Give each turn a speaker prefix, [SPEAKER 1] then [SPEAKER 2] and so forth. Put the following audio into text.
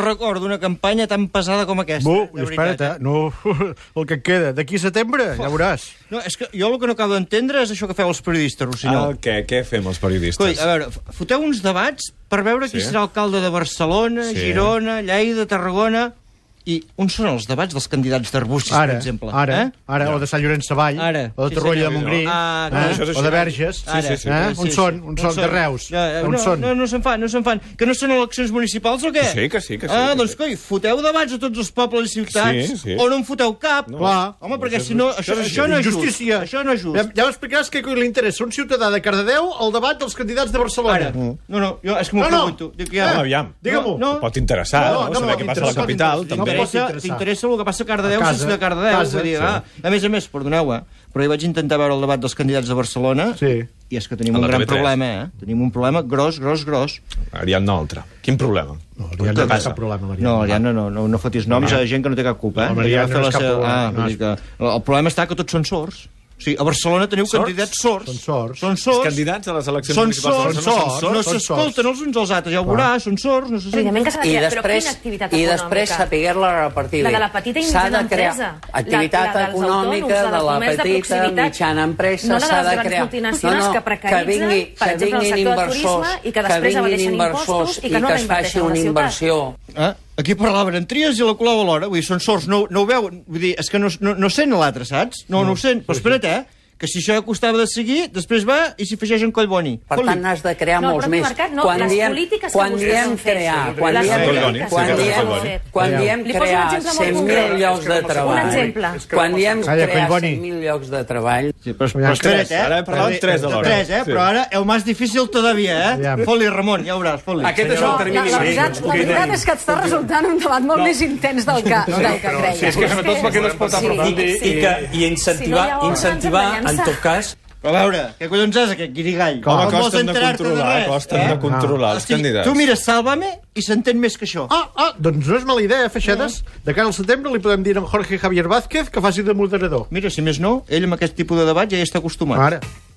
[SPEAKER 1] record d'una campanya tan pesada com aquesta.
[SPEAKER 2] Bu,
[SPEAKER 1] de veritat,
[SPEAKER 2] espera't, eh? No, el que et queda. D'aquí a setembre, ja veuràs.
[SPEAKER 1] eh? No, és que jo el que no acabo d'entendre és això que feu els periodistes, Rossinyol.
[SPEAKER 3] El què? Què fem els periodistes?
[SPEAKER 1] Ah, Coi, a veure, f- foteu uns debats per veure qui
[SPEAKER 3] Sí.
[SPEAKER 1] serà alcalde de Barcelona,
[SPEAKER 3] Sí.
[SPEAKER 1] Girona, Lleida, Tarragona... I on són els debats dels candidats d'Arbúcies, per
[SPEAKER 2] Ara,
[SPEAKER 1] exemple?
[SPEAKER 2] ara,
[SPEAKER 1] Eh?
[SPEAKER 2] ara, o de Sant Llorenç Savall,
[SPEAKER 1] Ara.
[SPEAKER 2] o de
[SPEAKER 1] Sí, senyor.
[SPEAKER 2] Torroella de Montgrí,
[SPEAKER 1] Ah, clar.
[SPEAKER 2] eh?
[SPEAKER 3] Això és
[SPEAKER 2] o de
[SPEAKER 3] així.
[SPEAKER 2] Verges,
[SPEAKER 3] Sí, sí, sí.
[SPEAKER 2] eh? on són, on són, de Reus,
[SPEAKER 1] Ja, eh,
[SPEAKER 2] on
[SPEAKER 1] no,
[SPEAKER 2] són.
[SPEAKER 1] No, no se'n fan, no se'n fan. Que no són eleccions municipals o què?
[SPEAKER 3] Que sí, que sí, que sí,
[SPEAKER 1] Ah,
[SPEAKER 3] que
[SPEAKER 1] doncs
[SPEAKER 3] sí.
[SPEAKER 1] coi, foteu debats a tots els pobles i ciutats
[SPEAKER 3] Sí, sí.
[SPEAKER 1] o no en foteu cap.
[SPEAKER 3] No.
[SPEAKER 2] Clar.
[SPEAKER 1] Home, perquè
[SPEAKER 3] Això és-
[SPEAKER 1] si no, això,
[SPEAKER 3] és
[SPEAKER 1] això no és just.
[SPEAKER 2] Justícia.
[SPEAKER 1] Això no és just.
[SPEAKER 2] Ja, ja m'explicaràs què coi li interessa a un ciutadà de Cardedeu el debat dels candidats de Barcelona.
[SPEAKER 1] Ara,
[SPEAKER 2] Mm.
[SPEAKER 1] Mm. no, no, jo és que m'ho
[SPEAKER 2] No, no.
[SPEAKER 1] pregunto. Dic, ja,
[SPEAKER 3] Ah, aviam.
[SPEAKER 2] Digue-m'ho.
[SPEAKER 1] No, no.
[SPEAKER 3] Pot interessar,
[SPEAKER 2] No,
[SPEAKER 3] no,
[SPEAKER 2] no,
[SPEAKER 3] no, saber
[SPEAKER 2] no,
[SPEAKER 3] què passa a la
[SPEAKER 2] m'interessa,
[SPEAKER 3] capital,
[SPEAKER 2] m'interessa.
[SPEAKER 3] també.
[SPEAKER 2] No,
[SPEAKER 1] T'interessa-
[SPEAKER 2] pot interessar.
[SPEAKER 1] T'interessa el que passa a Cardedeu,
[SPEAKER 2] A
[SPEAKER 1] si
[SPEAKER 2] casa,
[SPEAKER 1] ets de Cardedeu.
[SPEAKER 2] a casa,
[SPEAKER 1] vull dir,
[SPEAKER 2] sí.
[SPEAKER 1] ah, a més a més, perdoneu, eh, però hi vaig intentar veure el debat dels candidats de Barcelona
[SPEAKER 2] Sí.
[SPEAKER 1] i és que tenim
[SPEAKER 3] A
[SPEAKER 1] un
[SPEAKER 3] la
[SPEAKER 1] gran
[SPEAKER 3] TV3.
[SPEAKER 1] problema, eh? Tenim un problema gros, gros, gros.
[SPEAKER 3] Ariadna no altra. Quin problema?
[SPEAKER 2] No, ja no hi ha
[SPEAKER 3] passa?
[SPEAKER 2] cap problema, Mariana.
[SPEAKER 1] No, Ariadna, no, no, no fotis noms a gent que no té cap culpa. Eh?
[SPEAKER 2] No,
[SPEAKER 1] Que va
[SPEAKER 2] Mariana,
[SPEAKER 1] fer
[SPEAKER 2] no
[SPEAKER 1] la
[SPEAKER 2] és cap
[SPEAKER 1] seva-
[SPEAKER 2] problema,
[SPEAKER 1] Ah,
[SPEAKER 2] no
[SPEAKER 1] vull dir
[SPEAKER 2] és-
[SPEAKER 1] que el problema està que tots són sords. O sigui, a Barcelona teniu
[SPEAKER 3] Sords?
[SPEAKER 1] candidats sords.
[SPEAKER 2] Són sords.
[SPEAKER 1] Són
[SPEAKER 3] Els
[SPEAKER 1] sords.
[SPEAKER 3] candidats a les eleccions
[SPEAKER 1] Són
[SPEAKER 3] municipals de
[SPEAKER 1] sords,
[SPEAKER 3] Barcelona són
[SPEAKER 2] sords.
[SPEAKER 1] no
[SPEAKER 2] són
[SPEAKER 1] s'escolten els uns als altres, ja ho veuràs, són sords, no se senten.
[SPEAKER 4] Evidentment que s'ha de
[SPEAKER 5] I
[SPEAKER 4] crear, però
[SPEAKER 5] després,
[SPEAKER 4] quina activitat
[SPEAKER 5] i
[SPEAKER 4] econòmica?
[SPEAKER 5] després saber-la repartir
[SPEAKER 4] La
[SPEAKER 5] bé.
[SPEAKER 4] de la petita i
[SPEAKER 5] S'ha
[SPEAKER 4] mitjana
[SPEAKER 5] de crear
[SPEAKER 4] empresa.
[SPEAKER 5] Activitat
[SPEAKER 4] La- la dels
[SPEAKER 5] econòmica
[SPEAKER 4] autònoms, la
[SPEAKER 5] de
[SPEAKER 4] del
[SPEAKER 5] la
[SPEAKER 4] comerç de
[SPEAKER 5] petita i
[SPEAKER 4] proximitat.
[SPEAKER 5] mitjana empresa
[SPEAKER 4] No la de
[SPEAKER 5] s'ha
[SPEAKER 4] les
[SPEAKER 5] de
[SPEAKER 4] grans
[SPEAKER 5] crear.
[SPEAKER 4] multinacionals que precaritzen,
[SPEAKER 5] vingui,
[SPEAKER 4] per exemple, en
[SPEAKER 5] que
[SPEAKER 4] el
[SPEAKER 5] vinguin
[SPEAKER 4] sector del
[SPEAKER 5] inversors,
[SPEAKER 4] turisme i que després
[SPEAKER 5] vinguin
[SPEAKER 4] evadeixen
[SPEAKER 5] inversors
[SPEAKER 4] impostos i que no
[SPEAKER 5] i que es
[SPEAKER 4] reinverteixen
[SPEAKER 5] faci
[SPEAKER 4] a la
[SPEAKER 5] una
[SPEAKER 4] ciutat.
[SPEAKER 5] inversió.
[SPEAKER 1] Eh? Aquí parlaven en Trias i la Colau alhora. Vull dir, són sords, no, no ho veuen. Vull dir, és que no, no, no sent l'altre, saps? No, no, ho sent. Però espera't, eh? Que si això ja costava de seguir, després va i s'hi afegeix en Collboni.
[SPEAKER 5] Per
[SPEAKER 1] Col·li.
[SPEAKER 5] tant, n'has de crear
[SPEAKER 4] No, el
[SPEAKER 5] molts
[SPEAKER 4] propi
[SPEAKER 5] més.
[SPEAKER 4] mercat no, les polítiques que
[SPEAKER 5] quan
[SPEAKER 4] vostès
[SPEAKER 5] diem
[SPEAKER 4] han fet.
[SPEAKER 5] crear,
[SPEAKER 4] Sí,
[SPEAKER 5] quan
[SPEAKER 4] les
[SPEAKER 5] diem,
[SPEAKER 3] polítiques
[SPEAKER 5] quan
[SPEAKER 3] que
[SPEAKER 5] diem,
[SPEAKER 3] han fet.
[SPEAKER 5] quan
[SPEAKER 2] Aviam.
[SPEAKER 5] diem
[SPEAKER 4] Li poso un
[SPEAKER 5] crear
[SPEAKER 4] exemple molt
[SPEAKER 5] 100.000
[SPEAKER 4] concret.
[SPEAKER 5] llocs de
[SPEAKER 4] Un
[SPEAKER 5] treball,
[SPEAKER 4] exemple.
[SPEAKER 5] quan diem
[SPEAKER 2] Calla,
[SPEAKER 5] crear
[SPEAKER 2] Collboni.
[SPEAKER 5] 100.000 llocs de treball,
[SPEAKER 1] Sí, però, però espera't, eh?
[SPEAKER 3] Ara he parlat tres alhora.
[SPEAKER 1] Tres, eh?
[SPEAKER 3] Sí.
[SPEAKER 1] Però ara el més difícil todavía, eh?
[SPEAKER 2] Aviam.
[SPEAKER 1] Foli, Ramon, ja ho veuràs, foli.
[SPEAKER 3] Aquest és el
[SPEAKER 6] La,
[SPEAKER 3] termini
[SPEAKER 6] la, veritat, la veritat és que està resultant un debat molt més intens del que, del que creia.
[SPEAKER 7] és que sobretot perquè no es pot aprofundir
[SPEAKER 6] sí.
[SPEAKER 8] I, que, i incentivar,
[SPEAKER 6] Si no hi ha ordres,
[SPEAKER 8] incentivar
[SPEAKER 6] ens enganyem.
[SPEAKER 8] en tot cas,
[SPEAKER 1] Però a veure, què collons és aquest guirigall?
[SPEAKER 3] Home,
[SPEAKER 1] No vols
[SPEAKER 3] costen de
[SPEAKER 1] enterar-te
[SPEAKER 3] controlar,
[SPEAKER 1] res,
[SPEAKER 3] costen de controlar els
[SPEAKER 1] O sigui,
[SPEAKER 3] candidats.
[SPEAKER 1] Tu mires Sálvame i s'entén més que això.
[SPEAKER 2] Ah, ah, doncs no és mala idea, eh, Feixedes? De cara al setembre li podem dir a en Jorge Javier Vázquez que faci de moderador.
[SPEAKER 1] Mira, si més no, ell amb aquest tipus de debat ja hi està acostumat.
[SPEAKER 2] Ara.